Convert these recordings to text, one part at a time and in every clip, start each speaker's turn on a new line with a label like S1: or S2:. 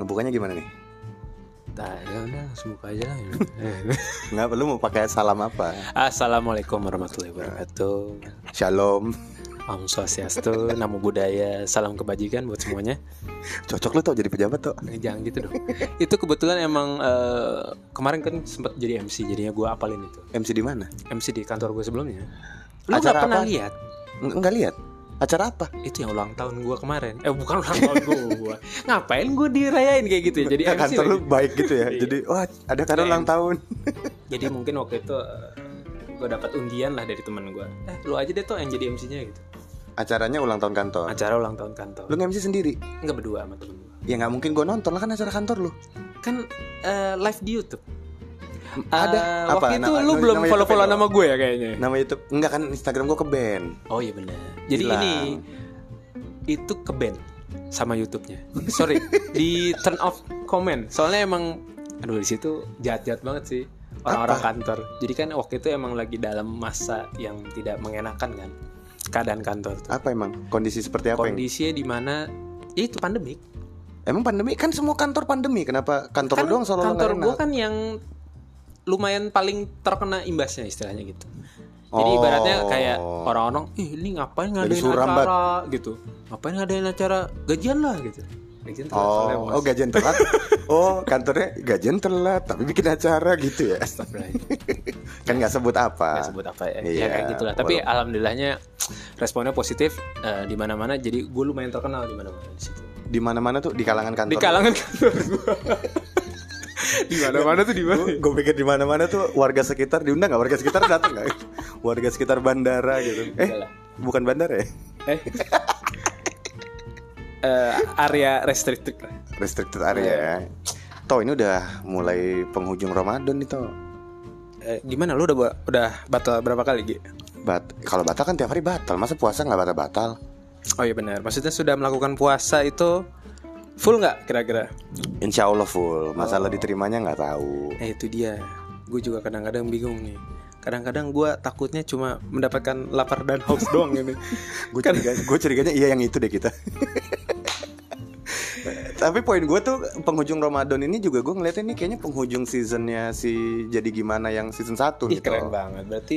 S1: bukanya gimana nih?
S2: Nah, ya udah langsung buka aja lah.
S1: Nggak perlu mau pakai salam apa?
S2: Assalamualaikum warahmatullahi wabarakatuh.
S1: Shalom.
S2: Om Swastiastu, Namo Buddhaya, salam kebajikan buat semuanya.
S1: Cocok lu tau jadi pejabat tuh.
S2: Eh, Jangan gitu dong. Itu kebetulan emang eh, kemarin kan sempat jadi MC, jadinya gua apalin itu.
S1: MC di mana?
S2: MC di kantor gue sebelumnya. Lu nggak
S1: Acara
S2: pernah
S1: apa?
S2: lihat?
S1: Nggak nggak lihat. Acara apa?
S2: Itu yang ulang tahun gua kemarin. Eh bukan ulang tahun gua. Ngapain gua dirayain kayak gitu ya? Jadi
S1: Nah,
S2: MC
S1: kantor lu
S2: lagi.
S1: baik gitu ya.
S2: Iya.
S1: Jadi wah ada karena
S2: Iya.
S1: ulang tahun.
S2: Jadi mungkin waktu itu gue dapat undian lah dari temen gua Eh lu aja deh tuh yang jadi MC-nya gitu.
S1: Acaranya ulang tahun kantor.
S2: Acara ulang tahun kantor.
S1: Lu MC sendiri?
S2: Enggak berdua sama temen gua
S1: Ya nggak mungkin gue nonton lah kan acara kantor lu.
S2: Kan eh, live di YouTube.
S1: Ada.
S2: Eh,
S1: Apa?
S2: Waktu itu
S1: Nama-
S2: lu
S1: nama-
S2: belum
S1: nama
S2: follow-follow
S1: YouTube-nya
S2: nama gue ya kayaknya.
S1: Nama YouTube enggak kan Instagram gue ke band.
S2: Oh iya benar. Jadi
S1: Hilang.
S2: ini itu ke band sama YouTube-nya. Sorry, di turn off comment. Soalnya emang aduh di situ jahat-jahat banget sih orang-orang
S1: Apa?
S2: kantor. Jadi kan waktu itu emang lagi dalam masa yang tidak mengenakan kan keadaan kantor tuh.
S1: Apa emang kondisi seperti apa? yang-
S2: Kondisinya di mana ya itu pandemik.
S1: Emang pandemi kan semua kantor pandemi. Kenapa kantor lu
S2: Kan
S1: doang selalu
S2: kantor
S1: nggak
S2: gue
S1: enak?
S2: kan yang lumayan paling terkena imbasnya istilahnya gitu. Jadi
S1: Oh.
S2: ibaratnya kayak orang-orang, ih ini ngapain ngadain
S1: suram, Bat."
S2: acara gitu, ngapain ngadain acara gajian lah gitu. Gajian telat soalnya,
S1: Oh,
S2: Bos.
S1: oh gajian telat. oh, kantornya gajian telat tapi bikin acara gitu ya.
S2: Astagfirullahaladzim.
S1: Kan nggak sebut
S2: Nggak
S1: apa.
S2: sebut apa ya,
S1: Iya,
S2: ya kayak gitulah. Tapi
S1: walau-
S2: alhamdulillahnya responnya positif eh, di mana-mana. Jadi gue lumayan terkenal di mana-mana di situ.
S1: Di mana-mana tuh di kalangan kantor.
S2: Di kalangan kantor gue. di mana-mana tuh di mana?
S1: Gue pikir di mana-mana tuh warga sekitar diundang nggak? Warga sekitar datang nggak? warga sekitar bandara gitu. Eh,
S2: Enggak lah.
S1: bukan bandara ya?
S2: Eh. Eh, area restricted lah.
S1: Restricted
S2: Iya.
S1: area ya. Toh ini udah mulai penghujung Ramadan nih toh.
S2: Eh, gimana lu udah ba- udah batal berapa kali Gi?
S1: Bat kalau batal kan tiap hari batal. Masa puasa nggak batal-batal?
S2: Oh iya benar. Maksudnya sudah melakukan puasa itu full nggak kira-kira?
S1: Insya Allah full.
S2: Oh.
S1: Masalah diterimanya nggak tahu.
S2: Nah itu dia. Gue juga kadang-kadang bingung nih. Kadang-kadang gue takutnya cuma mendapatkan lapar dan haus doang ini.
S1: gue
S2: Kan-
S1: curiga, gue curiganya iya yang itu deh kita tapi poin gue tuh penghujung Ramadan ini juga gue ngeliatnya ini kayaknya penghujung seasonnya si jadi gimana yang season 1
S2: Ih,
S1: gitu
S2: keren banget. Berarti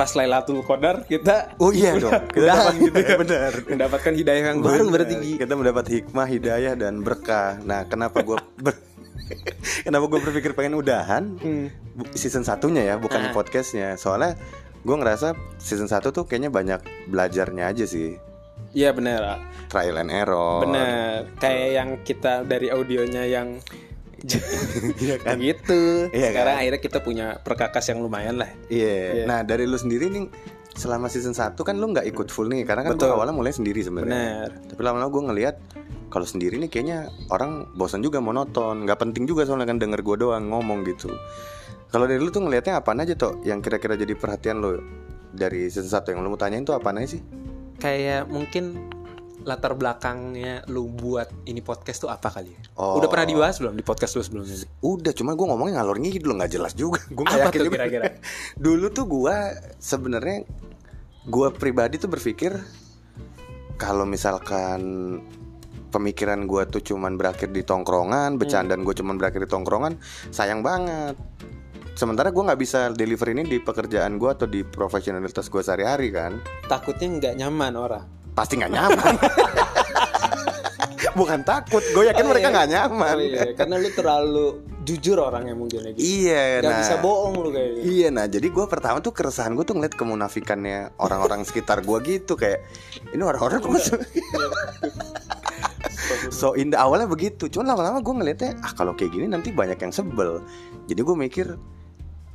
S2: pas Lailatul Qadar kita
S1: oh iya dong kita
S2: Udah,
S1: dapat
S2: gitu ya.
S1: bener
S2: mendapatkan hidayah yang baru
S1: Bener.
S2: berarti Gi.
S1: kita mendapat hikmah hidayah dan berkah nah kenapa gue ber- kenapa gue berpikir pengen udahan
S2: Hmm.
S1: bu- season satunya ya bukan
S2: Ah.
S1: podcastnya soalnya gue ngerasa season 1 tuh kayaknya banyak belajarnya aja sih
S2: Iya benar.
S1: trial and error
S2: Benar.
S1: gitu.
S2: Kayak yang kita dari audionya yang
S1: Iya kan?
S2: gitu.
S1: Iya kan?
S2: Sekarang akhirnya kita punya perkakas yang lumayan lah.
S1: Iya.
S2: Iya.
S1: Nah, dari lu sendiri nih selama season 1 kan lu nggak ikut full nih karena kan
S2: Betul.
S1: gua awalnya mulai sendiri sebenarnya.
S2: Benar.
S1: Tapi lama-lama gue ngelihat kalau sendiri nih kayaknya orang bosan juga monoton, nggak penting juga soalnya kan denger gue doang ngomong gitu. Kalau dari lu tuh ngelihatnya apaan aja toh yang kira-kira jadi perhatian lu dari season 1 yang lu mau tanyain tuh apaan aja sih?
S2: kayak mungkin latar belakangnya lu buat ini podcast tuh apa kali ya?
S1: Oh.
S2: Udah pernah dibahas belum di podcast lu sebelumnya? nih?
S1: Udah, cuma gue ngomongnya ngalor ngidul nggak jelas juga. Gue
S2: Apa tuh kira-kira?
S1: Dulu tuh gue sebenarnya gue pribadi tuh berpikir kalau misalkan pemikiran gue tuh cuman berakhir di tongkrongan,
S2: Hmm.
S1: bercandaan gue cuman berakhir di tongkrongan, sayang banget. Sementara gue nggak bisa deliver ini di pekerjaan gue atau di profesionalitas gue sehari-hari kan,
S2: Takutnya nggak nyaman orang.
S1: pasti nggak nyaman. Bukan takut, gue yakin
S2: Oh,
S1: mereka
S2: iya.
S1: nggak nyaman.
S2: Oh, iya, karena lu terlalu jujur orangnya mungkin ya. Gitu.
S1: Iya,
S2: Nggak
S1: nah.
S2: bisa bohong lu gitu. kayaknya.
S1: Iya nah jadi gue pertama tuh keresahan gue tuh ngeliat kemunafikannya orang-orang sekitar gue gitu kayak ini orang-orang kok so, so indah awalnya begitu cuman lama-lama gue ngeliatnya ah kalau kayak gini nanti banyak yang sebel jadi gue mikir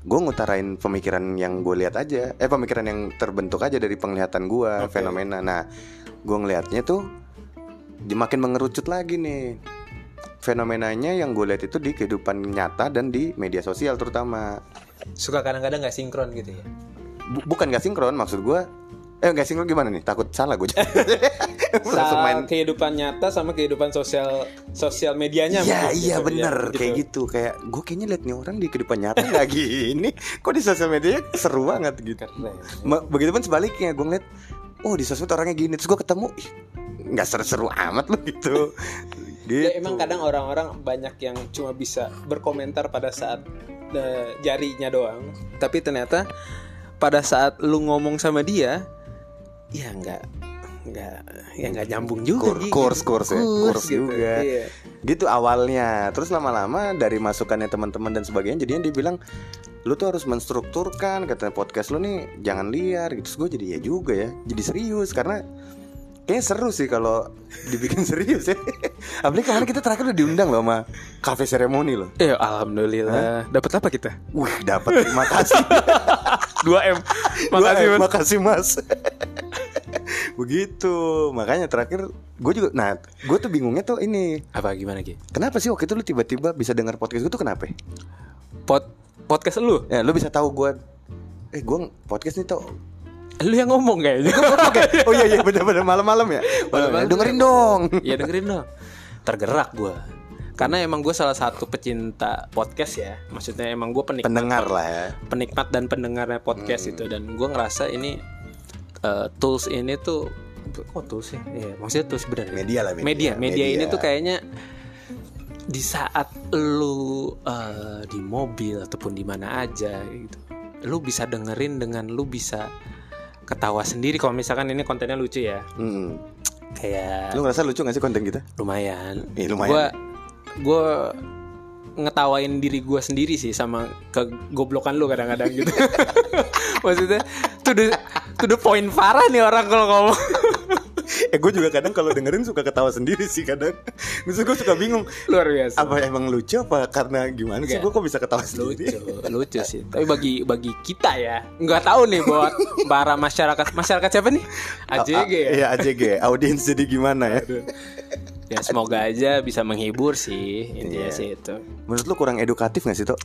S1: gue ngutarain pemikiran yang gue lihat aja eh pemikiran yang terbentuk aja dari penglihatan gue
S2: Oke.
S1: fenomena nah gue ngelihatnya tuh makin mengerucut lagi nih fenomenanya yang gue lihat itu di kehidupan nyata dan di media sosial terutama
S2: Suka kadang-kadang nggak sinkron gitu ya.
S1: Bu- bukan gak sinkron maksud gua eh gak sinkron gimana nih takut salah gue langsung
S2: Saat
S1: main
S2: kehidupan nyata sama kehidupan sosial sosial medianya.
S1: Iya
S2: mungkin
S1: iya
S2: gitu,
S1: bener
S2: ya,
S1: kayak gitu kayak gue kayaknya liat nih orang di kehidupan nyata nggak gini kok di sosial media seru banget gitu
S2: Keren.
S1: Ma- begitupun sebaliknya gue ngeliat oh di sosmed orangnya gini terus gue ketemu ih, nggak seru-seru amat loh gitu Gitu.
S2: Ya, emang kadang orang-orang banyak yang cuma bisa berkomentar pada saat eh, jarinya doang. Tapi ternyata pada saat lu ngomong sama dia, ya nggak nggak ya nggak nyambung
S1: Kur-
S2: juga. Ji.
S1: kurs, kurs ya, kurs
S2: gitu.
S1: juga.
S2: Iya.
S1: gitu awalnya terus lama-lama dari masukannya teman-teman dan sebagainya jadinya dia bilang lu tuh harus menstrukturkan kata podcast lu nih jangan liar gitu terus gue jadi ya juga ya jadi serius karena kayaknya seru sih kalau dibikin serius ya apalagi kemarin kita terakhir udah diundang loh sama cafe seremoni loh
S2: Eh, alhamdulillah. Dapat apa kita?
S1: wih dapat terima kasih
S2: 2 m. Makasih
S1: Wah,
S2: mas.
S1: eh, makasih mas begitu makanya terakhir gue juga nah gue tuh bingungnya tuh ini
S2: Apa gimana Ki?
S1: kenapa sih waktu itu lu tiba-tiba bisa dengar podcast gue tuh kenapa ya?
S2: Pod podcast lu,
S1: Ya, lu bisa tahu gue Eh, gue podcast nih tau
S2: lu yang ngomong kayaknya.
S1: Oh iya, iya, bener-bener malam-malam ya
S2: Malam-malam
S1: Malam-malam, Dengerin
S2: ya.
S1: dong
S2: Iya dengerin dong. Tergerak gue. Karena emang gue salah satu pecinta podcast ya. Maksudnya emang gue penikmat,
S1: Pendengar lah ya
S2: penikmat dan pendengarnya podcast itu. Dan gue ngerasa ini eh, tools ini tuh kok tools sih? Iya, maksudnya tools bener. ya?
S1: Media lah, media.
S2: Media, media ini
S1: Media.
S2: tuh kayaknya di saat lu eh, di mobil ataupun di mana aja gitu, lu bisa dengerin dengan lu bisa ketawa sendiri. Kalau misalkan ini kontennya lucu ya,
S1: Mm-mm.
S2: kayak
S1: Lu ngerasa lucu gak sih konten kita?
S2: lumayan.
S1: Iya, lumayan.
S2: Gua gua ngetawain diri gua sendiri sih sama kegoblokan lu kadang-kadang gitu. Maksudnya to the to the point parah nih orang kalau ngomong.
S1: Eh gue juga kadang kalau dengerin suka ketawa sendiri sih kadang Maksud gue suka bingung
S2: Luar biasa.
S1: Apa emang lucu apa karena gimana sih
S2: Enggak.
S1: gue kok bisa ketawa
S2: lucu
S1: sendiri
S2: lucu sih tapi bagi bagi kita ya nggak tahu nih buat para masyarakat masyarakat siapa nih AJG ya
S1: Iya AJG Audiens jadi gimana ya
S2: ya semoga aja bisa menghibur sih intinya
S1: Iya.
S2: sih itu
S1: Menurut lu kurang edukatif gak sih Tok?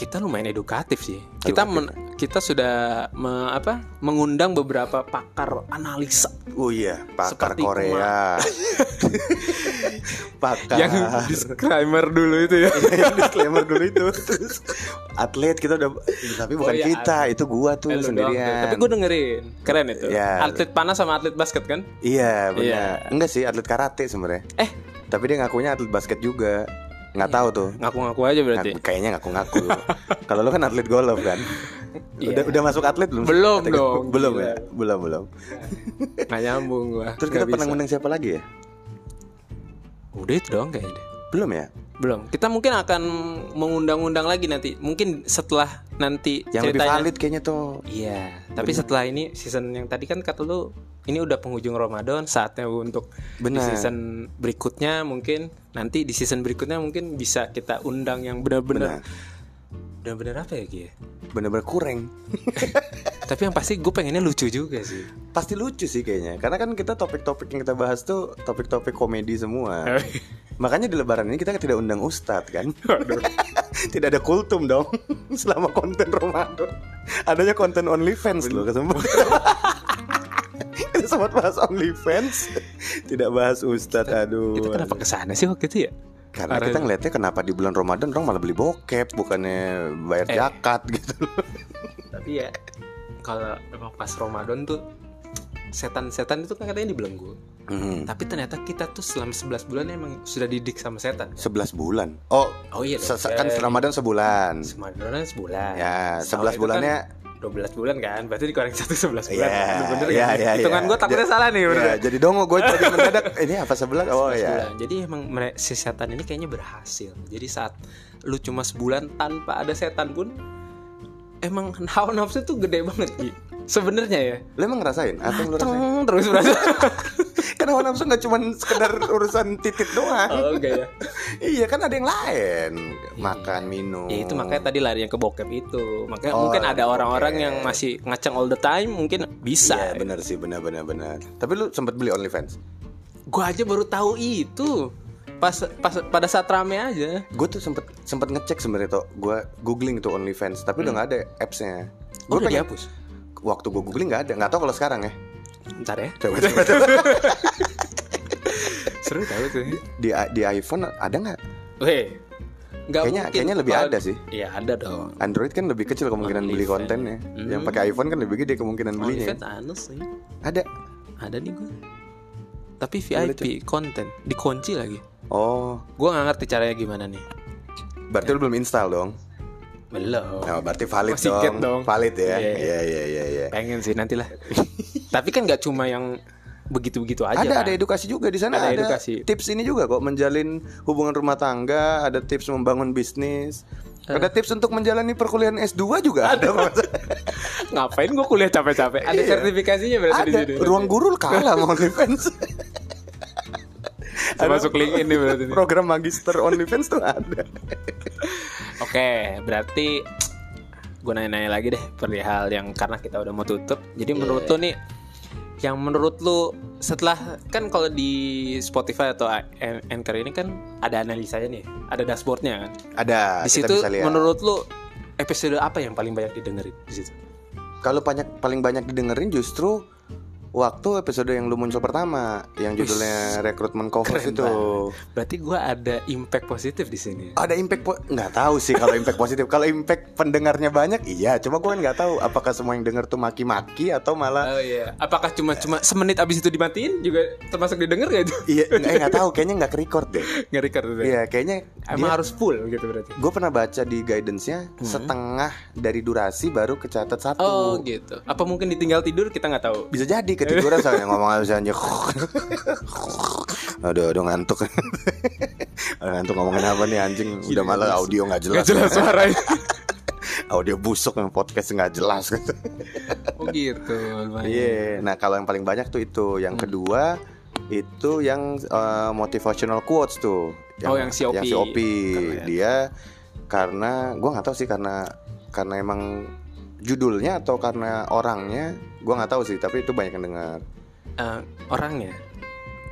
S2: kita lumayan edukatif sih kita men- kita sudah me- apa mengundang beberapa pakar analisa
S1: Oh iya Pakar
S2: Seperti
S1: Korea Pakar
S2: yang disclaimer dulu itu ya
S1: yang disclaimer dulu itu Terus, atlet kita udah tapi bukan
S2: Oh, iya,
S1: kita itu gua tuh
S2: Eh, lu doang tuh.
S1: sendirian
S2: tapi gue dengerin keren itu
S1: Iya.
S2: atlet panas sama atlet basket kan
S1: iya benar
S2: Iya.
S1: enggak sih atlet karate sebenarnya
S2: Eh.
S1: tapi dia ngakunya atlet basket juga nggak tahu tuh
S2: ngaku-ngaku aja Iya. berarti
S1: Ngaku- kayaknya ngaku-ngaku kalau lu kan atlet golf kan udah
S2: Iya.
S1: udah masuk atlet belum
S2: Belum
S1: Kategori-
S2: dong,
S1: belum
S2: gila.
S1: ya belum belum
S2: nggak nyambung gua
S1: terus
S2: Nggak
S1: kita pernah
S2: bisa.
S1: ngundang siapa lagi ya
S2: udah itu doang kayaknya deh.
S1: belum ya
S2: Belum. Kita mungkin akan mengundang-undang lagi nanti. Mungkin setelah nanti
S1: yang lebih
S2: ceritanya.
S1: valid kayaknya tuh
S2: Iya. Tapi setelah ini season yang tadi kan kata lu ini udah penghujung Ramadan, saatnya untuk di
S1: Benar.
S2: season berikutnya mungkin nanti di season berikutnya mungkin bisa kita undang yang benar-benar benar-benar apa ya Ki? ya?
S1: bener-bener kurang
S2: Tapi yang pasti gue pengennya lucu juga sih.
S1: pasti lucu sih kayaknya karena kan kita topik-topik yang kita bahas tuh topik-topik komedi semua makanya di lebaran ini kita tidak undang ustadz kan tidak ada kultum dong selama konten Ramadan adanya konten OnlyFans loh ketemu kita sempat bahas OnlyFans tidak bahas ustadz aduh
S2: Kita kenapa kesana sih waktu itu ya?
S1: karena
S2: Arah
S1: kita
S2: itu.
S1: ngeliatnya kenapa di bulan Ramadan orang malah beli bokep bukannya bayar
S2: Eh.
S1: zakat gitu
S2: Tapi ya kalau memang pas Ramadan tuh setan-setan itu kan katanya dibelenggu.
S1: hmm.
S2: Tapi ternyata kita tuh selama 11 bulan emang sudah didik sama setan.
S1: 11 bulan oh
S2: Oh iya
S1: se- se- kan Ramadan sebulan
S2: Ramadan sebulan.
S1: Ya, 11
S2: Sawal itu
S1: bulannya
S2: kan 12 bulan kan. Berarti dikurangi satu 11 bulan.
S1: Iya,
S2: Bener bener
S1: iya,
S2: kan?
S1: iya,
S2: Hitungan
S1: iya.
S2: gue takutnya salah nih bener.
S1: Ya, jadi dongo gue tadi mendadak ini apa sebelas? Oh
S2: 11
S1: ya.
S2: bulan. Jadi emang mere- si setan ini kayaknya berhasil. Jadi saat lu cuma sebulan tanpa ada setan pun emang hawa nafsu tuh gede banget Gi. Sebenarnya ya.
S1: Lu emang ngerasain? Apa yang lu rasain?
S2: Teng, terus berasa.
S1: Kan hawa nafsu gak cuma sekedar urusan titit doang.
S2: oh enggak ya.
S1: Iya kan ada yang lain. Makan, minum.
S2: Ya itu makanya tadi larinya ke bokep itu. Makanya
S1: Oh,
S2: mungkin ada
S1: bokep.
S2: orang-orang yang masih ngaceng all the time mungkin
S1: Iya
S2: bisa.
S1: benar sih benar benar benar. Tapi lu sempet beli OnlyFans?
S2: Gua aja baru tahu itu. Pas pas pada saat rame aja.
S1: Gue tuh sempet sempet ngecek sebenarnya tuh. Gue googling tuh OnlyFans, tapi udah nggak ada appsnya. Gue
S2: Gua Hmm. Oh, udah
S1: pengen
S2: dihapus.
S1: waktu gue googling nggak ada. Nggak tahu kalau sekarang ya.
S2: Bentar ya.
S1: Coba coba. coba.
S2: Seru tahu tuh.
S1: Di di iPhone ada nggak?
S2: Weh. Nggak
S1: Kayaknya
S2: mungkin
S1: kayaknya lebih
S2: kalau-
S1: ada sih.
S2: Iya, ada dong.
S1: Android kan lebih kecil kemungkinan beli
S2: OnlyFans.
S1: kontennya.
S2: Hmm. ya?
S1: Yang pakai iPhone kan lebih gede kemungkinan belinya.
S2: OnlyFans anus sih.
S1: Ada.
S2: Ada nih gue. tapi
S1: Boleh,
S2: VIP konten dikunci lagi
S1: Oh,
S2: gue nggak ngerti caranya gimana nih
S1: berarti lu belum install dong?
S2: belum
S1: Nah, berarti valid
S2: Masih
S1: dong.
S2: get dong.
S1: Valid ya.
S2: Iya.
S1: Iya iya iya iya.
S2: pengen sih nantilah tapi kan nggak cuma yang begitu-begitu aja
S1: Ada
S2: kan?
S1: ada edukasi juga di sana.
S2: Ada
S1: Ada,
S2: edukasi.
S1: Tips ini juga kok menjalin hubungan rumah tangga, ada tips membangun bisnis.
S2: Eh.
S1: Ada tips untuk menjalani perkuliahan S2 juga ada kok.
S2: ngapain gue kuliah capek-capek ada
S1: Iya.
S2: sertifikasinya berarti di
S1: ada.
S2: sini
S1: Ruang guru kalah sama OnlyFans.
S2: Saya masuk LinkedIn nih berarti nih.
S1: Program magister OnlyFans tuh ada.
S2: oke berarti gue nanya-nanya lagi deh perihal yang karena kita udah mau tutup jadi menurut
S1: Iya.
S2: lo nih yang menurut lu setelah kan kalau di Spotify atau An- Anchor ini kan ada analisanya nih ada dashboardnya kan
S1: Ada. Ah,
S2: di
S1: kita
S2: situ
S1: bisa lihat.
S2: menurut lu episode apa yang paling banyak didengerin di situ
S1: kalau banyak paling banyak didengerin justru waktu episode yang lu muncul pertama yang judulnya rekrutmen covers
S2: keren
S1: itu
S2: berarti gua ada impact positif di sini
S1: ada impact po- nggak tahu sih kalau impact positif kalau impact pendengarnya banyak iya cuma gua kan nggak tahu apakah semua yang denger tuh maki-maki atau malah
S2: Oh iya, apakah cuma cuma semenit abis itu dimatiin juga termasuk didengar gak itu?
S1: iya nggak eh, nggak tahu kayaknya nggak record deh
S2: Nggak record itu.
S1: iya kayaknya
S2: Emang harus full gitu berarti.
S1: gue pernah baca di guidance-nya setengah dari durasi baru kecatat satu
S2: Oh gitu. Apa mungkin ditinggal tidur kita nggak tahu.
S1: bisa jadi ketiduran soalnya ngomong halus aja aduh aduh ngantuk aduh, ngantuk ngomongin apa nih anjing udah malah audio nggak jelas
S2: Nggak jelas suaranya.
S1: audio busuk yang podcast nggak jelas gitu
S2: oh gitu. lumayan.
S1: Iya. nah kalau yang paling banyak tuh itu yang
S2: Hmm.
S1: kedua itu yang eh, motivational quotes tuh
S2: Oh, yang COP.
S1: yang COP dia karena gua nggak tahu sih karena karena emang judulnya atau karena orangnya gua nggak tahu sih tapi itu banyak yang dengar
S2: Eh, orangnya.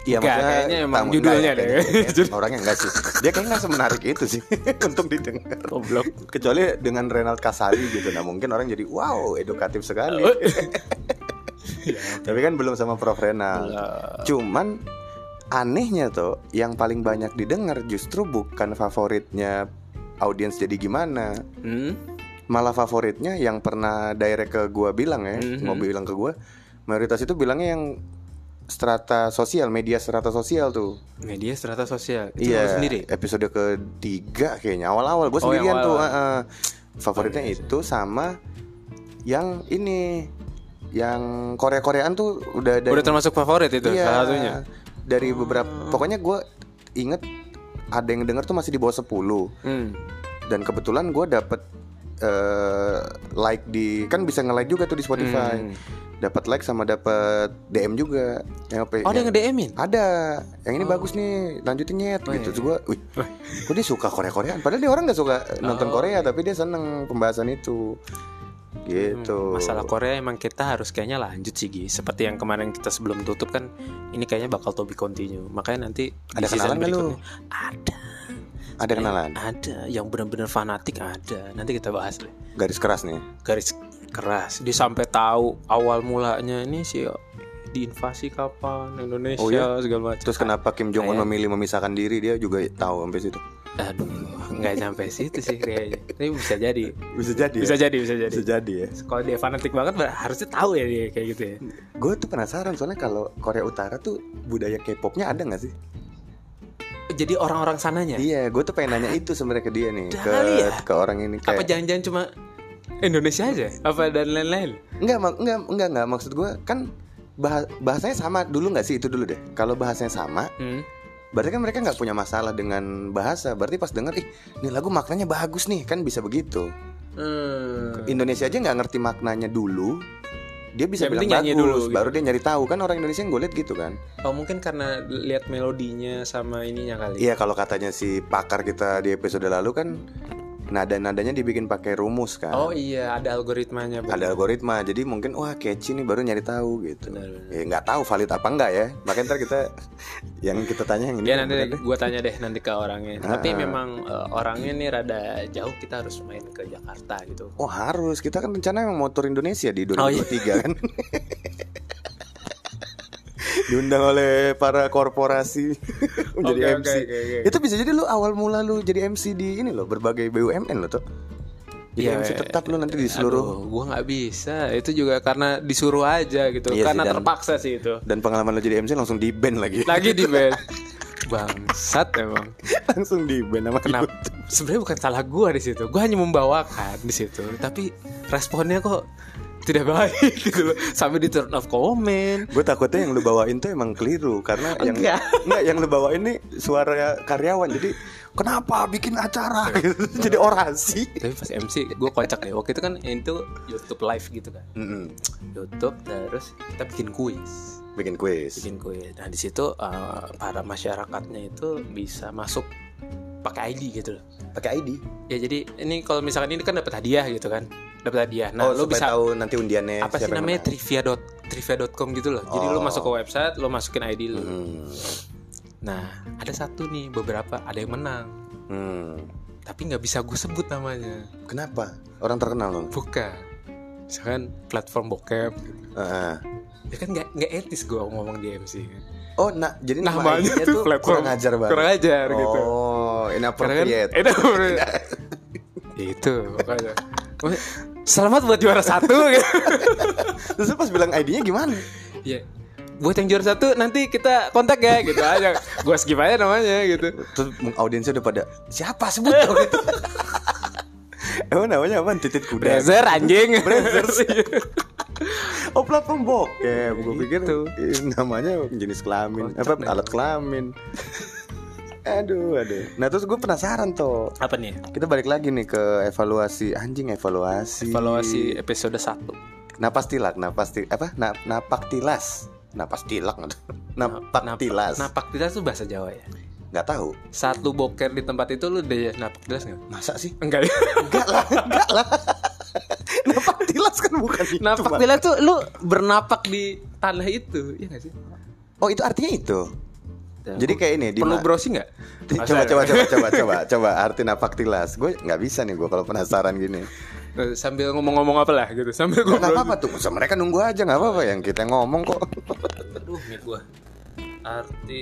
S1: Iya
S2: Enggak,
S1: maksudnya
S2: kayaknya emang
S1: tamu-
S2: judulnya
S1: enggak,
S2: deh.
S1: kayaknya- kayaknya orangnya enggak sih. Dia kayaknya enggak semenarik itu sih untuk didengar.
S2: Goblok.
S1: Kecuali dengan Renald Kasali gitu. Nah, mungkin orang jadi wow, edukatif sekali.
S2: Oh.
S1: Tapi kan belum sama Prof Renald. Cuman anehnya tuh yang paling banyak didengar justru bukan favoritnya audiens jadi gimana
S2: Hmm?
S1: malah favoritnya yang pernah direct ke gua bilang ya
S2: Mhm.
S1: mau bilang ke gua mayoritas itu bilangnya yang strata sosial media strata sosial tuh
S2: Media strata sosial. Itu
S1: Iya,
S2: lu sendiri.
S1: episode ketiga kayaknya awal-awal gue
S2: Oh, yang
S1: sendirian tuh.
S2: awal-awal. Oh, iya,
S1: heeh. Favoritnya itu sama yang ini, yang Korea-Koreaan tuh udah dari
S2: Udah termasuk favorit itu
S1: Iya,
S2: salah satunya.
S1: Dari beberapa, pokoknya gue inget ada yang denger tuh masih di bawah 10
S2: Hmm.
S1: dan kebetulan gue dapet eh, like di kan bisa nge like juga tuh di Spotify,
S2: Hmm.
S1: dapat like sama dapat DM juga. Yang, apa-
S2: Oh, dia
S1: yang-
S2: nge-DM-in?
S1: ada yang ini bagus nih lanjutin nyet
S2: Oh,
S1: gitu
S2: iya.
S1: Terus gua, wih kok dia suka Korea Koreaan padahal dia orang nggak suka nonton
S2: Oh,
S1: Korea tapi dia seneng pembahasan itu gitu
S2: Hmm. Masalah Korea emang kita harus kayaknya lanjut sih Gi Seperti yang kemarin kita sebelum tutup kan Ini kayaknya bakal to be continue Makanya nanti di
S1: Ada kenalan
S2: season
S1: nggak lu?
S2: berikutnya- Ada
S1: ada kenalan
S2: Ada Yang bener-bener fanatik ada Nanti kita bahas deh
S1: garis keras nih
S2: Garis keras Dia sampai tahu awal mulanya ini sih oh, Diinvasi kapan Indonesia
S1: Oh, iya?
S2: segala macam
S1: terus kenapa Kim Jong Un
S2: Kayak-
S1: memilih memisahkan diri dia juga tahu sampai situ
S2: Aduh nggak sampai situ sih kayaknya Tapi bisa jadi
S1: bisa jadi
S2: Bisa
S1: ya?
S2: jadi Bisa jadi
S1: bisa jadi ya
S2: Kalau dia fanatik banget harusnya tahu ya dia kayak gitu ya
S1: gue tuh penasaran soalnya kalau Korea Utara tuh budaya K-popnya ada nggak sih
S2: Jadi orang-orang sananya
S1: iya gue tuh pengen nanya itu sebenarnya ke dia nih ke
S2: Ada Ya. kali ya?
S1: ke orang ini
S2: Apa
S1: kayak
S2: jangan-jangan cuma Indonesia aja? Apa dan lain-lain?
S1: Enggak, mak- enggak, enggak, enggak. Maksud gue kan bahas- bahasanya sama dulu nggak sih itu dulu deh. Kalau bahasanya sama,
S2: Hmm.
S1: berarti kan mereka nggak punya masalah dengan bahasa. Berarti pas denger, ih, ini lagu maknanya bagus nih, kan bisa begitu. Indonesia aja nggak ngerti maknanya dulu, dia bisa
S2: Yang penting
S1: bilang
S2: nyanyi
S1: bagus.
S2: dulu, gitu.
S1: Baru dia nyari tahu kan orang Indonesia yang gue liat gitu kan.
S2: Oh mungkin karena lihat melodinya sama ininya kali.
S1: Iya kalau katanya si pakar kita di episode lalu kan nada-nadanya dibikin pakai rumus kan.
S2: Oh iya ada algoritmanya. bener.
S1: ada algoritma jadi mungkin wah catchy nih baru nyari tahu gitu
S2: Benar, benar.
S1: ya nggak tahu valid apa enggak ya makanya ntar kita yang kita tanya yang ini
S2: Ya nanti
S1: benar deh.
S2: gue tanya deh nanti ke orangnya. Tapi
S1: Ah.
S2: memang eh, orangnya nih rada jauh kita harus main ke Jakarta gitu.
S1: oh harus kita kan rencana emang mau tour Indonesia di 2023
S2: Oh, iya.
S1: kan diundang oleh para korporasi menjadi
S2: Oke,
S1: MC
S2: oke, oke, oke.
S1: itu bisa jadi lu awal mula lu jadi MC di ini loh berbagai BUMN loh tuh Jadi
S2: Iya,
S1: MC tetap lu nanti di seluruh
S2: Aduh, gua nggak bisa. Itu juga karena disuruh aja gitu.
S1: Iya sih,
S2: karena
S1: dan-
S2: terpaksa sih itu.
S1: dan pengalaman lu jadi MC langsung di band lagi.
S2: Lagi di band. Bangsat emang.
S1: langsung di band sama
S2: Kenapa? Sebenarnya bukan salah gua di situ. Gua hanya membawakan di situ. Tapi responnya kok tidak baik gitu loh. Sampai di turn off comment.
S1: Gue takutnya yang lu bawain tuh emang keliru karena yang
S2: Enggak.
S1: enggak yang lu bawain nih suara karyawan. Jadi kenapa bikin acara
S2: Iya.
S1: gitu. jadi orasi.
S2: Tapi pas MC gua kocak ya. Waktu itu kan itu YouTube live gitu kan.
S1: Mm-mm.
S2: YouTube terus kita bikin kuis.
S1: Bikin kuis.
S2: bikin kue. Nah di situ eh, para masyarakatnya itu bisa masuk pakai ID gitu loh.
S1: Pakai ID.
S2: Ya jadi ini kalau misalkan ini kan dapat hadiah gitu kan, dapat hadiah.
S1: oh,
S2: Nah lo
S1: supaya
S2: bisa
S1: tahu nanti undiannya
S2: apa
S1: siapa
S2: sih
S1: yang
S2: namanya
S1: menang.
S2: trivia dot trivia.com gitu loh. Jadi lo
S1: Oh.
S2: masuk ke website, lo masukin ID lo.
S1: Hmm.
S2: Nah ada satu nih beberapa ada yang menang,
S1: Hmm.
S2: tapi nggak bisa gue sebut namanya.
S1: Kenapa? Orang terkenal lu.
S2: Bukan. Misalkan platform bokep, gitu.
S1: Heeh.
S2: ya kan nggak nggak etis gue ngomong di MC. kan.
S1: Oh, nah, jadi nama
S2: Namanya
S1: ID-nya
S2: tuh
S1: tuh
S2: platform-
S1: kurang ajar banget.
S2: kurang ajar
S1: oh,
S2: gitu. Karena kan
S1: inappropriate.
S2: itu itu makanya. Selamat buat juara satu. gitu.
S1: Terus lu pas bilang ID-nya gimana?
S2: Iya. Buat yang juara satu nanti kita kontak ya gitu aja. Gua skip aja namanya gitu.
S1: Terus audiensnya udah pada siapa sebut dong gitu. Emang namanya apa? Titit kuda.
S2: Blazer anjing.
S1: Oh platform bokep Gue pikir
S2: Gitu.
S1: eh, namanya jenis kelamin
S2: Kocak
S1: Apa
S2: nih.
S1: alat kelamin Aduh aduh Nah terus gue penasaran tuh
S2: Apa nih?
S1: Kita balik lagi nih ke evaluasi Anjing evaluasi
S2: Evaluasi episode 1.
S1: Napas tilak Napas tilak Apa? Na, napak tilas Napas tilak Napak tilas
S2: Napak tilas tuh bahasa Jawa ya.
S1: Gak tahu
S2: Saat lu boker di tempat itu lu udah napak tilas enggak?
S1: Masa sih?
S2: Enggak. ya?
S1: Enggak lah Enggak lah Napak tilas kan bukan itu
S2: napak
S1: Bang.
S2: tilas tuh lu bernapak di tanah itu, iya gak sih?
S1: Oh itu artinya itu Jadi kayak ini di
S2: perlu
S1: ma-
S2: browsing nggak?
S1: coba coba coba coba coba coba arti napak tilas gue nggak bisa nih gue kalau penasaran gini
S2: Eh, sambil ngomong-ngomong apa lah gitu sambil
S1: nggak apa
S2: ngobrol
S1: apa tuh masa mereka nunggu aja nggak apa apa yang kita ngomong kok
S2: aduh mie gua arti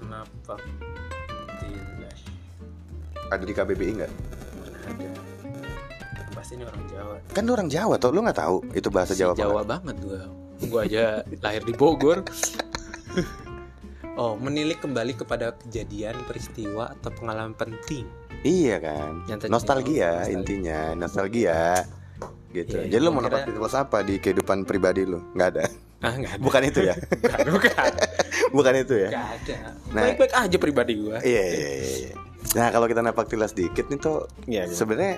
S2: kenapa tidak
S1: ada di KBBI nggak
S2: ada pasti ini orang Jawa
S1: kan lu orang Jawa tuh lu nggak tahu itu bahasa Jawa, apa
S2: Jawa banget gua gua aja lahir di Bogor Oh, menilik kembali kepada kejadian, peristiwa, atau pengalaman penting.
S1: nggak? iya kan
S2: Yang tadi-
S1: nostalgia
S2: nostalgia.
S1: intinya nostalgia gitu
S2: Iya,
S1: jadi lu
S2: gua
S1: mau napak
S2: kira-
S1: tilas apa di kehidupan pribadi lu nggak ada
S2: Ah, nggak ada.
S1: bukan itu ya
S2: Bukan, bukan.
S1: bukan itu ya
S2: Nggak ada.
S1: Nah.
S2: Baik-baik aja pribadi gua.
S1: Iya, iya, iya, iya. Nah, kalau kita napak tilas dikit nih tuh
S2: Iya, iya.
S1: sebenarnya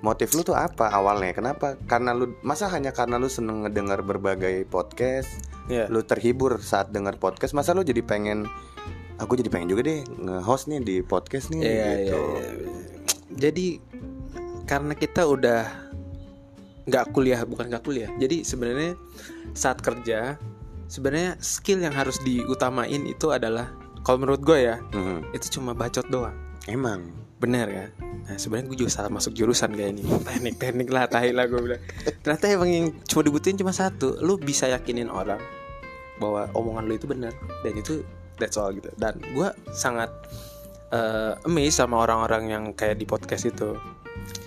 S1: motif lu tuh apa awalnya? Kenapa? Karena lu masa hanya karena lu seneng ngedengar berbagai podcast,
S2: Iya.
S1: lu terhibur saat dengar podcast, masa lu jadi pengen aku jadi pengen juga deh nge-host nih di podcast nih
S2: Iya,
S1: gitu.
S2: iya, iya. Jadi karena kita udah nggak kuliah, bukan nggak kuliah. Jadi sebenarnya saat kerja sebenarnya skill yang harus diutamain itu adalah kalau menurut gue ya
S1: Mhm.
S2: itu cuma bacot doang.
S1: Emang.
S2: Bener kan? Nah sebenarnya gue juga salah masuk jurusan kayak ini Teknik-teknik lah, tai lah gue bilang Ternyata emang yang cuma dibutuhin cuma satu Lu bisa yakinin orang Bahwa omongan lu itu bener Dan itu that's all gitu Dan gue sangat eh, amazed sama orang-orang yang kayak di podcast itu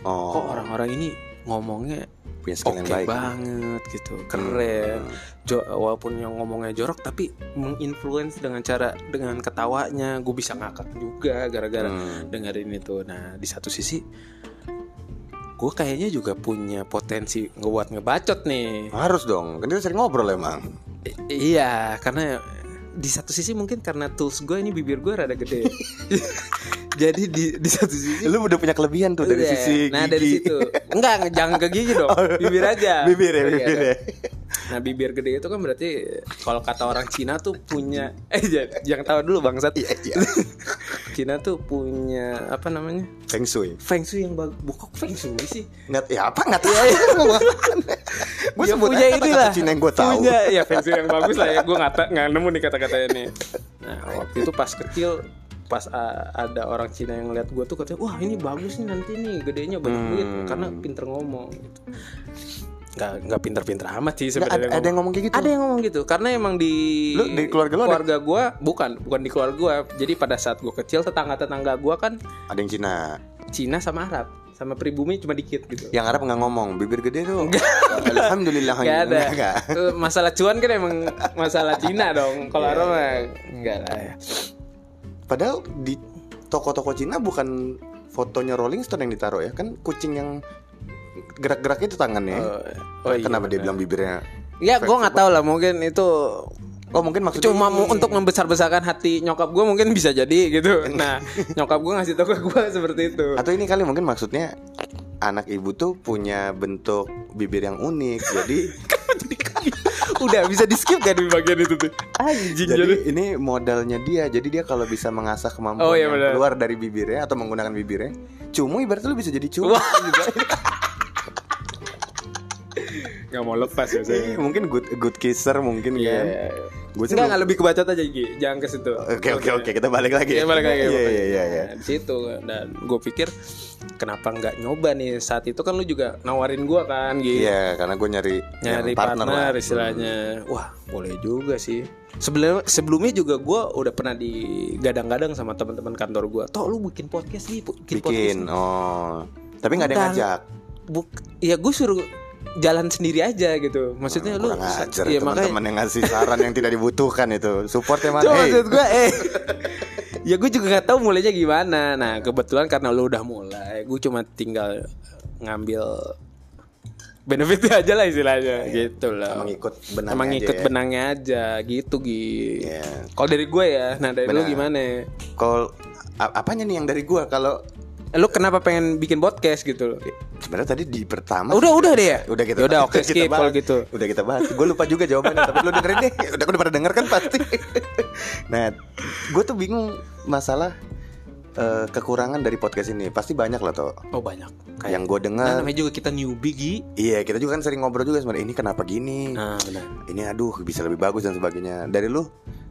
S1: Oh,
S2: Kok orang-orang ini ngomongnya
S1: punya skill
S2: oke
S1: yang baik. Hmm.
S2: banget gitu Keren Jo- Walaupun yang ngomongnya jorok Tapi menginfluence dengan cara Dengan ketawanya Gue bisa ngakak juga Gara-gara
S1: Hmm.
S2: dengerin itu. Nah, di satu sisi gue kayaknya juga punya potensi ngebuat ngebacot nih.
S1: Harus dong, kan kita sering ngobrol emang.
S2: I- iya, karena di satu sisi mungkin karena tools gue ini bibir gue rada gede. Jadi di di satu sisi
S1: Lu udah punya kelebihan tuh dari
S2: Iya.
S1: sisi
S2: Nah, dari
S1: gigi. Oh.
S2: situ. Enggak, jangan ke gigi dong. Bibir aja.
S1: bibir ya,
S2: Iya,
S1: bibir ya.
S2: Nah, bibir gede itu kan berarti kalau kata orang Cina tuh punya eh jangan, jangan tahu dulu bangsat.
S1: Iya, iya.
S2: Cina tuh punya apa namanya?
S1: Feng Shui.
S2: Feng Shui yang bagus. Bukan Feng Shui sih.
S1: Nggak, ya apa nggak
S2: Iya,
S1: tahu Gue
S2: Ya,
S1: sebut aja kata-kata Cina yang gue tahu.
S2: punya ya pensil yang bagus lah ya gue nggak ta- nggak nemu nih kata-katanya nih nah waktu itu pas kecil pas uh, ada orang Cina yang ngeliat gue tuh katanya wah ini bagus nih nanti nih gedenya banyak
S1: Hmm.
S2: duit karena pinter ngomong gitu nggak nggak pinter-pinter amat sih
S1: Nggak, ada,
S2: sebenarnya
S1: ada yang ngomong kayak gitu.
S2: ada yang ngomong gitu karena emang di
S1: Lu, di keluarga lu ada?
S2: gue bukan bukan di keluarga gue jadi pada saat gue kecil tetangga tetangga gue kan
S1: Ada yang Cina.
S2: Cina sama Arab sama pribumi cuma dikit gitu
S1: Yang Arab nggak ngomong, bibir gede tuh. Alhamdulillah
S2: Nggak ada.
S1: Oh, iya, Nggak.
S2: Eh, masalah cuan kan emang masalah Cina
S1: Iya,
S2: dong kalau Arab mah enggak lah ya
S1: Padahal di toko-toko Cina bukan fotonya Rolling Stone yang ditaruh ya, kan kucing yang gerak-gerak itu tangannya.
S2: Oh, iya,
S1: Kenapa dia
S2: benar.
S1: bilang bibirnya?
S2: ya gue nggak tahu lah mungkin itu
S1: Oh mungkin maksudnya
S2: cuma
S1: ini.
S2: mau untuk membesar-besarkan hati nyokap gue mungkin bisa jadi gitu nah nyokap gue ngasih tau ke gue seperti itu
S1: Atau ini kali mungkin maksudnya anak ibu tuh punya bentuk bibir yang unik. Jadi
S2: udah bisa di skip kan di bagian itu tuh anjing
S1: jadi
S2: jadi
S1: ini modalnya dia. Jadi dia kalau bisa mengasah kemampuan
S2: Oh, iya,
S1: yang
S2: benar.
S1: keluar dari bibirnya atau menggunakan bibirnya, cumu ibaratnya lu bisa jadi cumu
S2: Wah.
S1: juga.
S2: nggak mau lepas ya
S1: Iya, mungkin good good kisser mungkin kan.
S2: Iya.
S1: Gue sih belum-
S2: Enggak, enggak lebih kebacot aja Gi. Jangan ke situ.
S1: Oke oke oke kita balik lagi.
S2: Iya, balik lagi.
S1: Iya
S2: balik
S1: iya
S2: lagi.
S1: iya. iya.
S2: Nah, Di situ dan gue pikir kenapa nggak nyoba nih saat itu kan lu juga nawarin gue kan gitu.
S1: Iya, karena gue nyari
S2: Nyari
S1: yang
S2: partner,
S1: lah.
S2: istilahnya. Wah, boleh juga sih. Sebelum sebelumnya juga gue udah pernah digadang-gadang sama teman-teman kantor gue. Toh lu bikin podcast nih, bikin, podcast.
S1: Bikin. Oh. Tapi nggak ada yang
S2: Entah.
S1: ngajak.
S2: Buk, ya gue suruh jalan sendiri aja gitu. Maksudnya lu
S1: Ah, Kurang ajar
S2: Iya, makanya-
S1: teman-teman yang ngasih saran yang tidak dibutuhkan itu. Supportnya mana?
S2: Cuma
S1: Hey.
S2: maksud gue eh Ya gue juga gak tahu mulainya gimana Nah kebetulan karena lu udah mulai Gue cuma tinggal ngambil Benefitnya aja lah istilahnya Gitu lah
S1: Iya. Emang ikut benangnya
S2: Emang
S1: aja
S2: ikut
S1: ya.
S2: benangnya aja Gitu Gi
S1: Iya.
S2: Kalau dari gue ya Nah dari lu
S1: Benar.
S2: gimana
S1: Kalau a- apanya nih yang dari gua kalau
S2: Eh, Lu kenapa pengen bikin podcast gitu loh
S1: sebenarnya tadi di pertama
S2: Udah udah deh ya
S1: udah kita
S2: Udah oke
S1: kita
S2: skip
S1: bahas.
S2: kalau gitu
S1: udah kita bahas gue lupa juga jawabannya tapi lu dengerin deh udah udah pada denger kan pasti nah gue tuh bingung masalah eh, kekurangan dari podcast ini pasti banyak lah toh
S2: Oh banyak
S1: yang gue
S2: Nah,
S1: dengar
S2: namanya juga kita newbie Gi
S1: iya kita juga kan sering ngobrol juga sebenarnya ini kenapa gini
S2: Nah benar
S1: ini aduh bisa lebih bagus dan sebagainya dari lu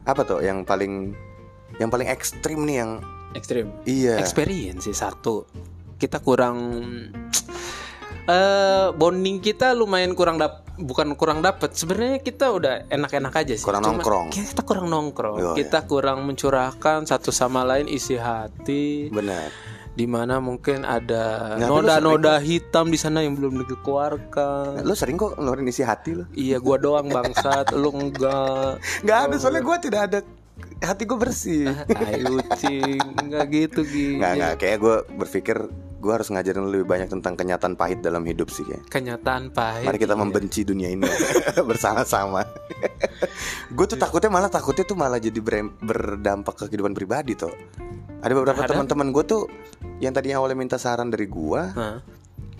S1: apa toh yang paling yang paling ekstrim nih yang
S2: Ekstrim
S1: iya
S2: experience sih satu kita kurang eh bonding kita lumayan kurang dap bukan kurang dapat sebenarnya kita udah enak-enak aja sih
S1: Kurang nongkrong.
S2: kita kurang nongkrong
S1: Yo, ya.
S2: kita kurang mencurahkan satu sama lain isi hati
S1: benar
S2: dimana mungkin
S1: Nah,
S2: ada
S1: tapi lu
S2: noda-noda hitam di sana yang belum
S1: Nah,
S2: dikeluarkan
S1: lu sering kok ngeluarin isi hati lu
S2: iya gua doang bangsat lu enggak
S1: nggak ada soalnya gue tidak ada hati gue bersih
S2: Ah, ayo cing enggak gitu gitu
S1: Nggak, nggak. Kayaknya gue berpikir gue harus ngajarin lu lebih banyak tentang kenyataan pahit dalam hidup sih kayak.
S2: kenyataan pahit
S1: Mari kita membenci dunia ini bersama-sama. gue
S2: Iya.
S1: tuh takutnya malah takutnya tuh malah jadi ber- berdampak ke kehidupan pribadi tuh. Ada beberapa
S2: Ada.
S1: teman-teman gue tuh yang tadinya awalnya minta saran dari gue,
S2: Hah?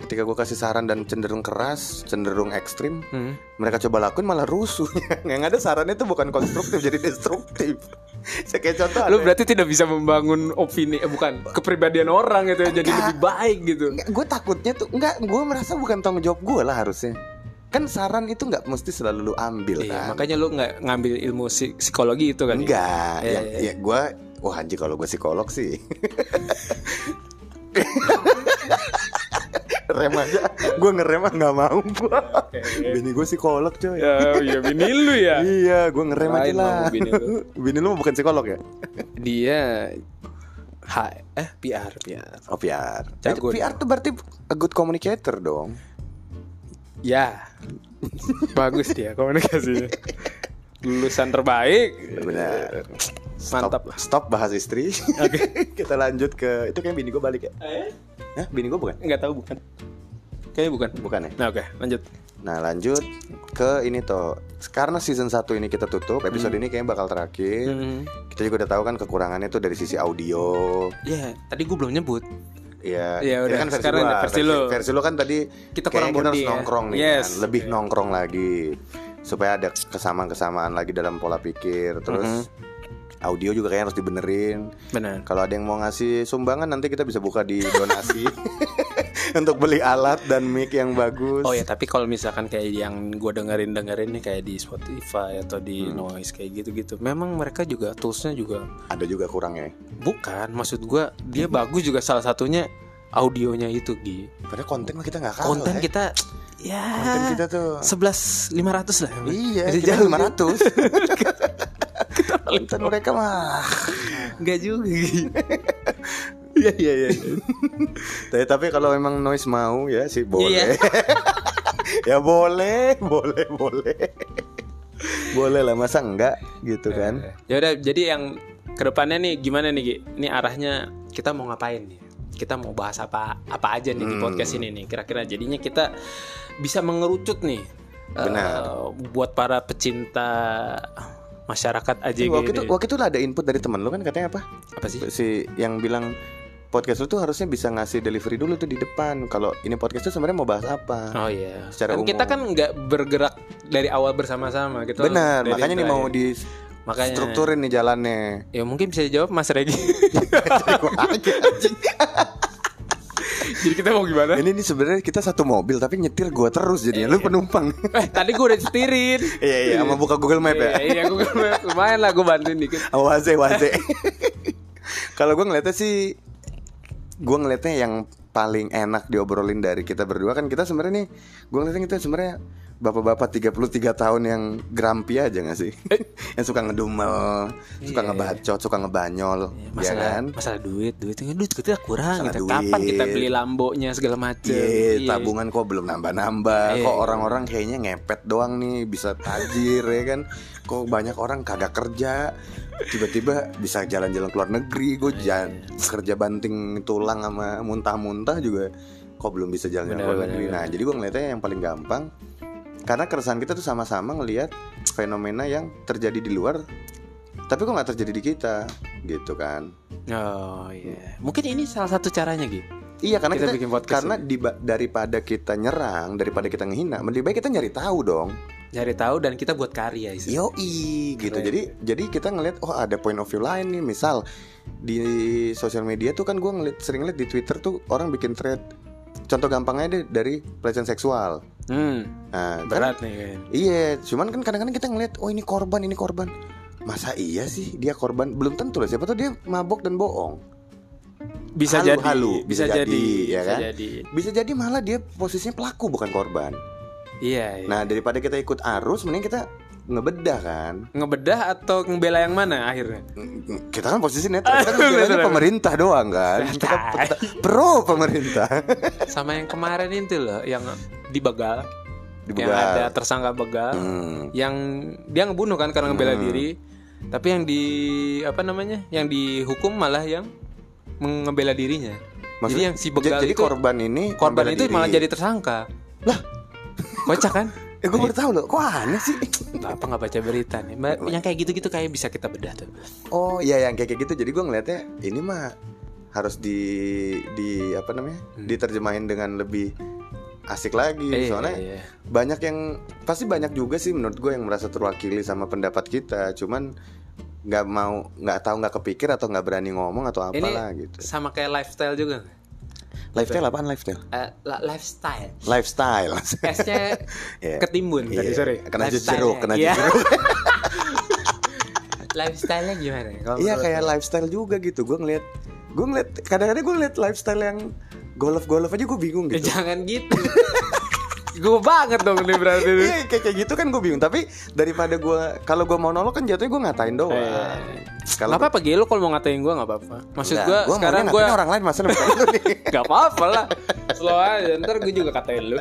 S1: ketika gue kasih saran dan cenderung keras, cenderung ekstrim,
S2: Hmm.
S1: mereka coba lakuin malah rusuh. yang ada sarannya tuh bukan konstruktif jadi destruktif. Saya kayak contoh.
S2: Lu
S1: ada-
S2: berarti tidak bisa membangun opini eh, bukan kepribadian orang gitu ya jadi
S1: Enggak.
S2: lebih baik gitu.
S1: gue takutnya tuh nggak gue merasa bukan tanggung jawab gue lah harusnya kan saran itu nggak mesti selalu lu ambil
S2: Iya,
S1: kan
S2: makanya lu nggak ngambil ilmu psi- psikologi itu kan. ya?
S1: enggak
S2: Iya,
S1: ya,
S2: iya,
S1: ya gue wah anjir kalau gue psikolog sih rem aja gue ngerem ah, nggak mau gue bini gue psikolog coy
S2: Ya, ya bini lu ya.
S1: iya gue ngerem aja
S2: Lain
S1: lah
S2: mau bini lu.
S1: bini lu bukan psikolog ya
S2: Dia H eh PR PR.
S1: oh PR
S2: Jago
S1: Eh, PR tuh berarti a good communicator dong
S2: Ya. Bagus dia komunikasinya. Lulusan terbaik.
S1: benar
S2: Mantap lah.
S1: stop bahas istri
S2: Oke.
S1: kita lanjut ke itu kayak bini gue balik ya
S2: Eh,
S1: Hah, bini gue bukan?
S2: nggak tahu bukan. Kayaknya bukan.
S1: Bukan ya?
S2: Nah, oke, lanjut.
S1: Nah lanjut ke ini toh Karena season 1 ini kita tutup Episode ini kayaknya bakal terakhir
S2: Hmm.
S1: Kita juga udah tahu kan kekurangannya tuh dari sisi audio
S2: Ya, tadi gue belum nyebut.
S1: Ya,
S2: Ya
S1: ini
S2: udah,
S1: kan versi
S2: sekarang
S1: gua,
S2: ada versi lu.
S1: Versi lu kan tadi
S2: Kita
S1: kayaknya kita
S2: kurang
S1: harus
S2: bonding ya.
S1: nongkrong nih
S2: Yes.
S1: kan. Lebih nongkrong lagi Supaya ada kesamaan-kesamaan lagi dalam pola pikir Terus audio juga kayaknya harus dibenerin
S2: Benar.
S1: Kalau ada yang mau ngasih sumbangan nanti kita bisa buka di donasi Untuk beli alat dan mic yang bagus
S2: Oh ya, tapi kalau misalkan kayak yang gue dengerin dengerin nih kayak di Spotify atau di
S1: Hmm.
S2: Noise kayak gitu-gitu, memang mereka juga toolsnya juga
S1: Ada juga kurangnya
S2: bukan. Maksud gue dia
S1: Hmm.
S2: bagus juga salah satunya audionya itu Gi.
S1: Padahal konten mah kita nggak kalah
S2: Konten
S1: ya.
S2: kita ya
S1: Konten kita tuh
S2: sebelas lima ratus lah.
S1: Iya
S2: Masih
S1: kita
S2: jauh.
S1: 500 Konten mereka mah
S2: Nggak juga. Gi. Iya iya iya.
S1: Tapi, tapi kalau emang noise mau ya sih boleh.
S2: Iya.
S1: ya boleh, boleh, boleh. boleh lah masa enggak gitu kan?
S2: Ya udah jadi yang kedepannya nih gimana nih Gi? Ini arahnya kita mau ngapain nih? Kita mau bahas apa apa aja nih di
S1: Hmm.
S2: podcast ini nih? Kira-kira jadinya kita bisa mengerucut nih.
S1: Benar.
S2: Eh, buat para pecinta masyarakat aja gitu.
S1: Waktu itu waktu itu lah ada input dari teman lu kan katanya apa?
S2: apa sih?
S1: Si yang bilang podcast lu tuh harusnya bisa ngasih delivery dulu tuh di depan. Kalau ini podcast tuh sebenarnya mau bahas apa?
S2: Oh iya.
S1: Secara
S2: kan kita
S1: umum.
S2: kan nggak bergerak dari awal bersama-sama gitu.
S1: Benar,
S2: Dari
S1: makanya nih
S2: terakhir.
S1: mau di
S2: Makanya.
S1: strukturin nih jalannya.
S2: Ya mungkin bisa dijawab Mas Regi. Jadi kita mau gimana?
S1: ini ini sebenarnya kita satu mobil tapi nyetir gua terus jadinya lu penumpang.
S2: eh, tadi gue udah setirin.
S1: Iya iya, sama buka Google Map ya.
S2: Iya, iya, gue lumayan lah gue bantuin dikit.
S1: Sama Waze Waze. Kalau gua ngeliatnya sih, gua ngeliatnya yang paling enak diobrolin dari kita berdua kan kita sebenarnya nih, gua ngeliatnya kita sebenarnya bapak-bapak 33 tahun yang grampi aja gak sih? yang suka ngedumel, suka
S2: Iya.
S1: ngebacot, suka ngebanyol, ya
S2: Masalah,
S1: kan?
S2: masalah duit, duit, duit kita kurang.
S1: Masalah
S2: gitu.
S1: duit.
S2: Kapan kita beli lambonya segala macam.
S1: Iya,
S2: Iya.
S1: tabungan kok belum nambah-nambah.
S2: Iya.
S1: Kok orang-orang kayaknya ngepet doang nih bisa tajir ya kan. Kok banyak orang kagak kerja. Tiba-tiba bisa jalan-jalan ke luar negeri. Gue
S2: Iya.
S1: kerja banting tulang sama muntah-muntah juga. Kok belum bisa jalan-jalan ke luar
S2: Benar,
S1: negeri.
S2: benar,
S1: Nah, jadi gue ngeliatnya yang paling gampang karena keresahan kita tuh sama-sama ngelihat fenomena yang terjadi di luar tapi kok nggak terjadi di kita gitu kan
S2: Oh iya. Mungkin ini salah satu caranya gitu.
S1: Iya karena
S2: Kita
S1: kita,
S2: bikin podcast
S1: karena di, daripada kita nyerang, daripada kita ngehina, lebih baik kita nyari tahu dong.
S2: Nyari tahu dan kita buat karya istilahnya.
S1: Yoi gitu.
S2: Keren.
S1: Jadi jadi kita ngelihat oh ada point of view lain nih. Misal di sosial media tuh kan gue ngeliat sering ngeliat di Twitter tuh orang bikin thread. Contoh gampangnya deh dari pelecehan seksual.
S2: Hmm,
S1: Nah, kan-
S2: berat nih kan.
S1: iya, cuman kan kadang-kadang kita ngeliat oh ini korban, ini korban. Masa iya sih dia korban? Belum tentu lah siapa tuh dia mabok dan bohong.
S2: Bisa
S1: Halu,
S2: jadi,
S1: halu. Bisa
S2: bisa, jadi,
S1: jadi, ya
S2: bisa
S1: kan?
S2: jadi.
S1: Bisa jadi malah dia posisinya pelaku bukan korban.
S2: Iya, iya.
S1: Nah daripada kita ikut arus, mending kita ngebedah kan.
S2: ngebedah atau ngebela yang mana akhirnya?
S1: Kita kan posisi netral, kita kan
S2: Bener,
S1: ngebelanya
S2: bener.
S1: pemerintah doang kan. Kita, kita pro pemerintah.
S2: Sama yang kemarin itu loh, yang dibegal, yang
S1: Dibegal.
S2: ada tersangka begal,
S1: Hmm.
S2: yang dia ngebunuh kan karena ngebela diri, tapi yang di apa namanya, yang dihukum malah yang ngebela dirinya. jadi
S1: Maksudnya-
S2: yang si
S1: Ja-
S2: begal
S1: jadi
S2: itu
S1: korban ini
S2: korban
S1: membela
S2: itu
S1: diri.
S2: malah jadi tersangka. Lah, kocak kan?
S1: Eh gue baru tahu loh, kok aneh sih?
S2: Nggak apa nggak baca berita nih? Mbak, Yang kayak gitu-gitu kayak bisa kita bedah tuh.
S1: Oh iya yang kayak gitu. Jadi gue ngeliatnya ini mah harus di di apa namanya? Diterjemahin dengan lebih asik lagi.
S2: Hmm. Iya,
S1: Soalnya
S2: iya.
S1: banyak yang pasti banyak juga sih menurut gue yang merasa terwakili sama pendapat kita cuman nggak mau nggak tahu nggak kepikir atau nggak berani ngomong atau
S2: Ini
S1: apalah gitu
S2: sama kayak lifestyle juga. nggak?
S1: lifestyle apaan lifestyle
S2: Eh, la- lifestyle.
S1: lifestyle
S2: S-nya
S1: Iya.
S2: ketimbun tadi
S1: Iya.
S2: sore.
S1: Kena jus
S2: Lifestyle-nya.
S1: jeruk, kena jus
S2: Iya.
S1: jeruk.
S2: Lifestyle-nya gimana? Kalau
S1: iya
S2: menurut
S1: kayak lifestyle juga gitu gue ngeliat gue ngeliat kadang-kadang gue ngeliat lifestyle yang golf-golf aja gue bingung
S2: lu? Eh,
S1: gitu
S2: Jangan gitu. gue banget dong ini berarti.
S1: Iya kayak kayak gitu kan gue bingung tapi daripada gue kalau gue monolog kan jatuhnya gue ngatain doang
S2: Kalau
S1: kalau
S2: apa apa lo kalau mau ngatain gue nggak apa-apa. Iya. Maksud
S1: Nggak,
S2: gue
S1: gua
S2: sekarang
S1: maunya
S2: gue
S1: ngatain orang lain masa lu bukan lu nih.
S2: nggak apa-apa lah. Slow aja, ntar gue juga katain lu.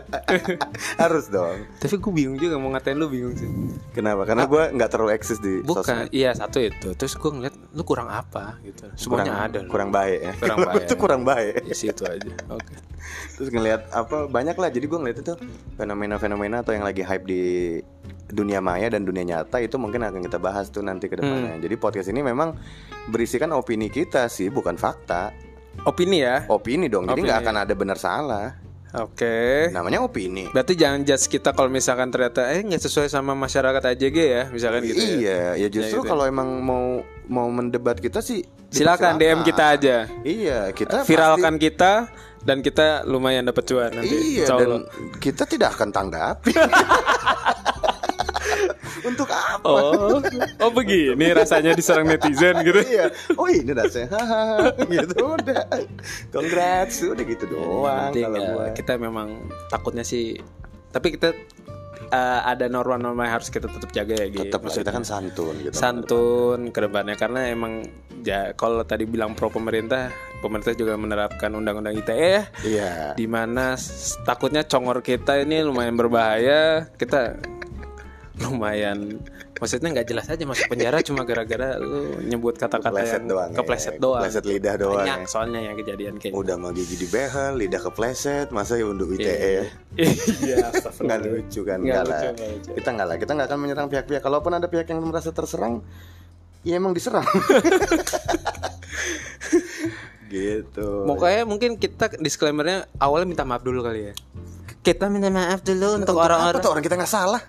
S1: harus dong
S2: Tapi gue bingung juga mau ngatain lu bingung sih.
S1: Kenapa? Karena gue nggak terlalu eksis di
S2: Ah. Bukan,
S1: sosmed.
S2: iya satu itu. Terus gue ngeliat lu kurang apa gitu.
S1: Kurang,
S2: Semuanya ada. lu.
S1: kurang baik ya. Kalau
S2: Kurang
S1: gua
S2: baik.
S1: tuh kurang baik.
S2: Isi itu aja. Oke.
S1: Terus ngelihat apa banyak lah. Jadi gue ngeliat itu fenomena-fenomena atau yang lagi hype di dunia maya dan dunia nyata itu mungkin akan kita bahas tuh nanti ke
S2: Hmm.
S1: depannya. Jadi podcast ini memang berisikan opini kita sih, bukan fakta.
S2: Opini ya.
S1: Opini dong. Jadi
S2: Opini. iya. Eh.
S1: nggak akan ada benar salah.
S2: Oke.
S1: Namanya opini.
S2: Berarti jangan judge kita kalau misalkan ternyata eh nggak sesuai sama masyarakat aja ge ya, misalkan gitu. ya.
S1: Iya, ya justru
S2: Ya gitu.
S1: kalau emang mau mau mendebat kita sih
S2: Silakan DM kita Eh, aja.
S1: Iya, kita pasti-
S2: Viralkan kita dan kita lumayan dapat cuan nanti.
S1: Iya
S2: Insya
S1: dan
S2: Allah.
S1: kita tidak akan tanggapi. Untuk apa?
S2: Oh, oh begini rasanya diserang netizen gitu.
S1: Iya. Oh ini rasanya hahaha gitu udah. Congrats udah gitu doang
S2: Yang penting,
S1: kalau
S2: ya,
S1: gua.
S2: kita memang takutnya sih tapi kita eh, ada norma-norma yang harus kita tetap jaga ya gitu.
S1: tetap lah kita kan santun gitu
S2: santun ke depannya karena emang ya kalau tadi bilang pro pemerintah, pemerintah juga menerapkan undang-undang ITE ya.
S1: iya
S2: di mana s- takutnya congor kita ini lumayan berbahaya kita lumayan maksudnya nggak jelas aja masuk penjara cuma gara-gara lu nyebut kata-kata
S1: Kepleset
S2: yang
S1: doang ya,
S2: kepleset doang
S1: kepleset lidah doang
S2: banyak
S1: ya.
S2: soalnya yang kejadian kayak gitu.
S1: udah mah gigi di behel lidah kepleset masa ya untuk ITE ya
S2: Iya. iya
S1: nggak
S2: astagfirullah.
S1: lucu kan
S2: Nggak
S1: nggak lah
S2: lucu, nggak lucu.
S1: kita nggak lah kita nggak akan menyerang pihak-pihak kalaupun ada pihak yang merasa terserang ya emang diserang gitu
S2: Pokoknya mungkin kita disclaimernya awalnya minta maaf dulu kali ya. Kita minta maaf dulu untuk
S1: Apa tuh
S2: orang-orang
S1: orang kita nggak salah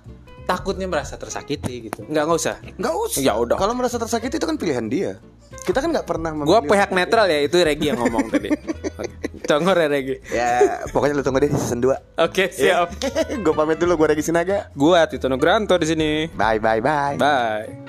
S2: takutnya merasa tersakiti gitu. Nggak nggak usah.
S1: nggak usah
S2: Ya udah.
S1: kalau merasa tersakiti itu kan pilihan dia kita kan nggak pernah
S2: Gua
S1: memilih-
S2: pihak netral ya itu Regi yang ngomong tadi. Oke. Congor ya Regi.
S1: ya pokoknya lu tunggu deh season 2
S2: Oke siap.
S1: gue pamit dulu gue Regi Sinaga
S2: Gua Tito Nugranto di sini.
S1: bye bye bye
S2: Bye.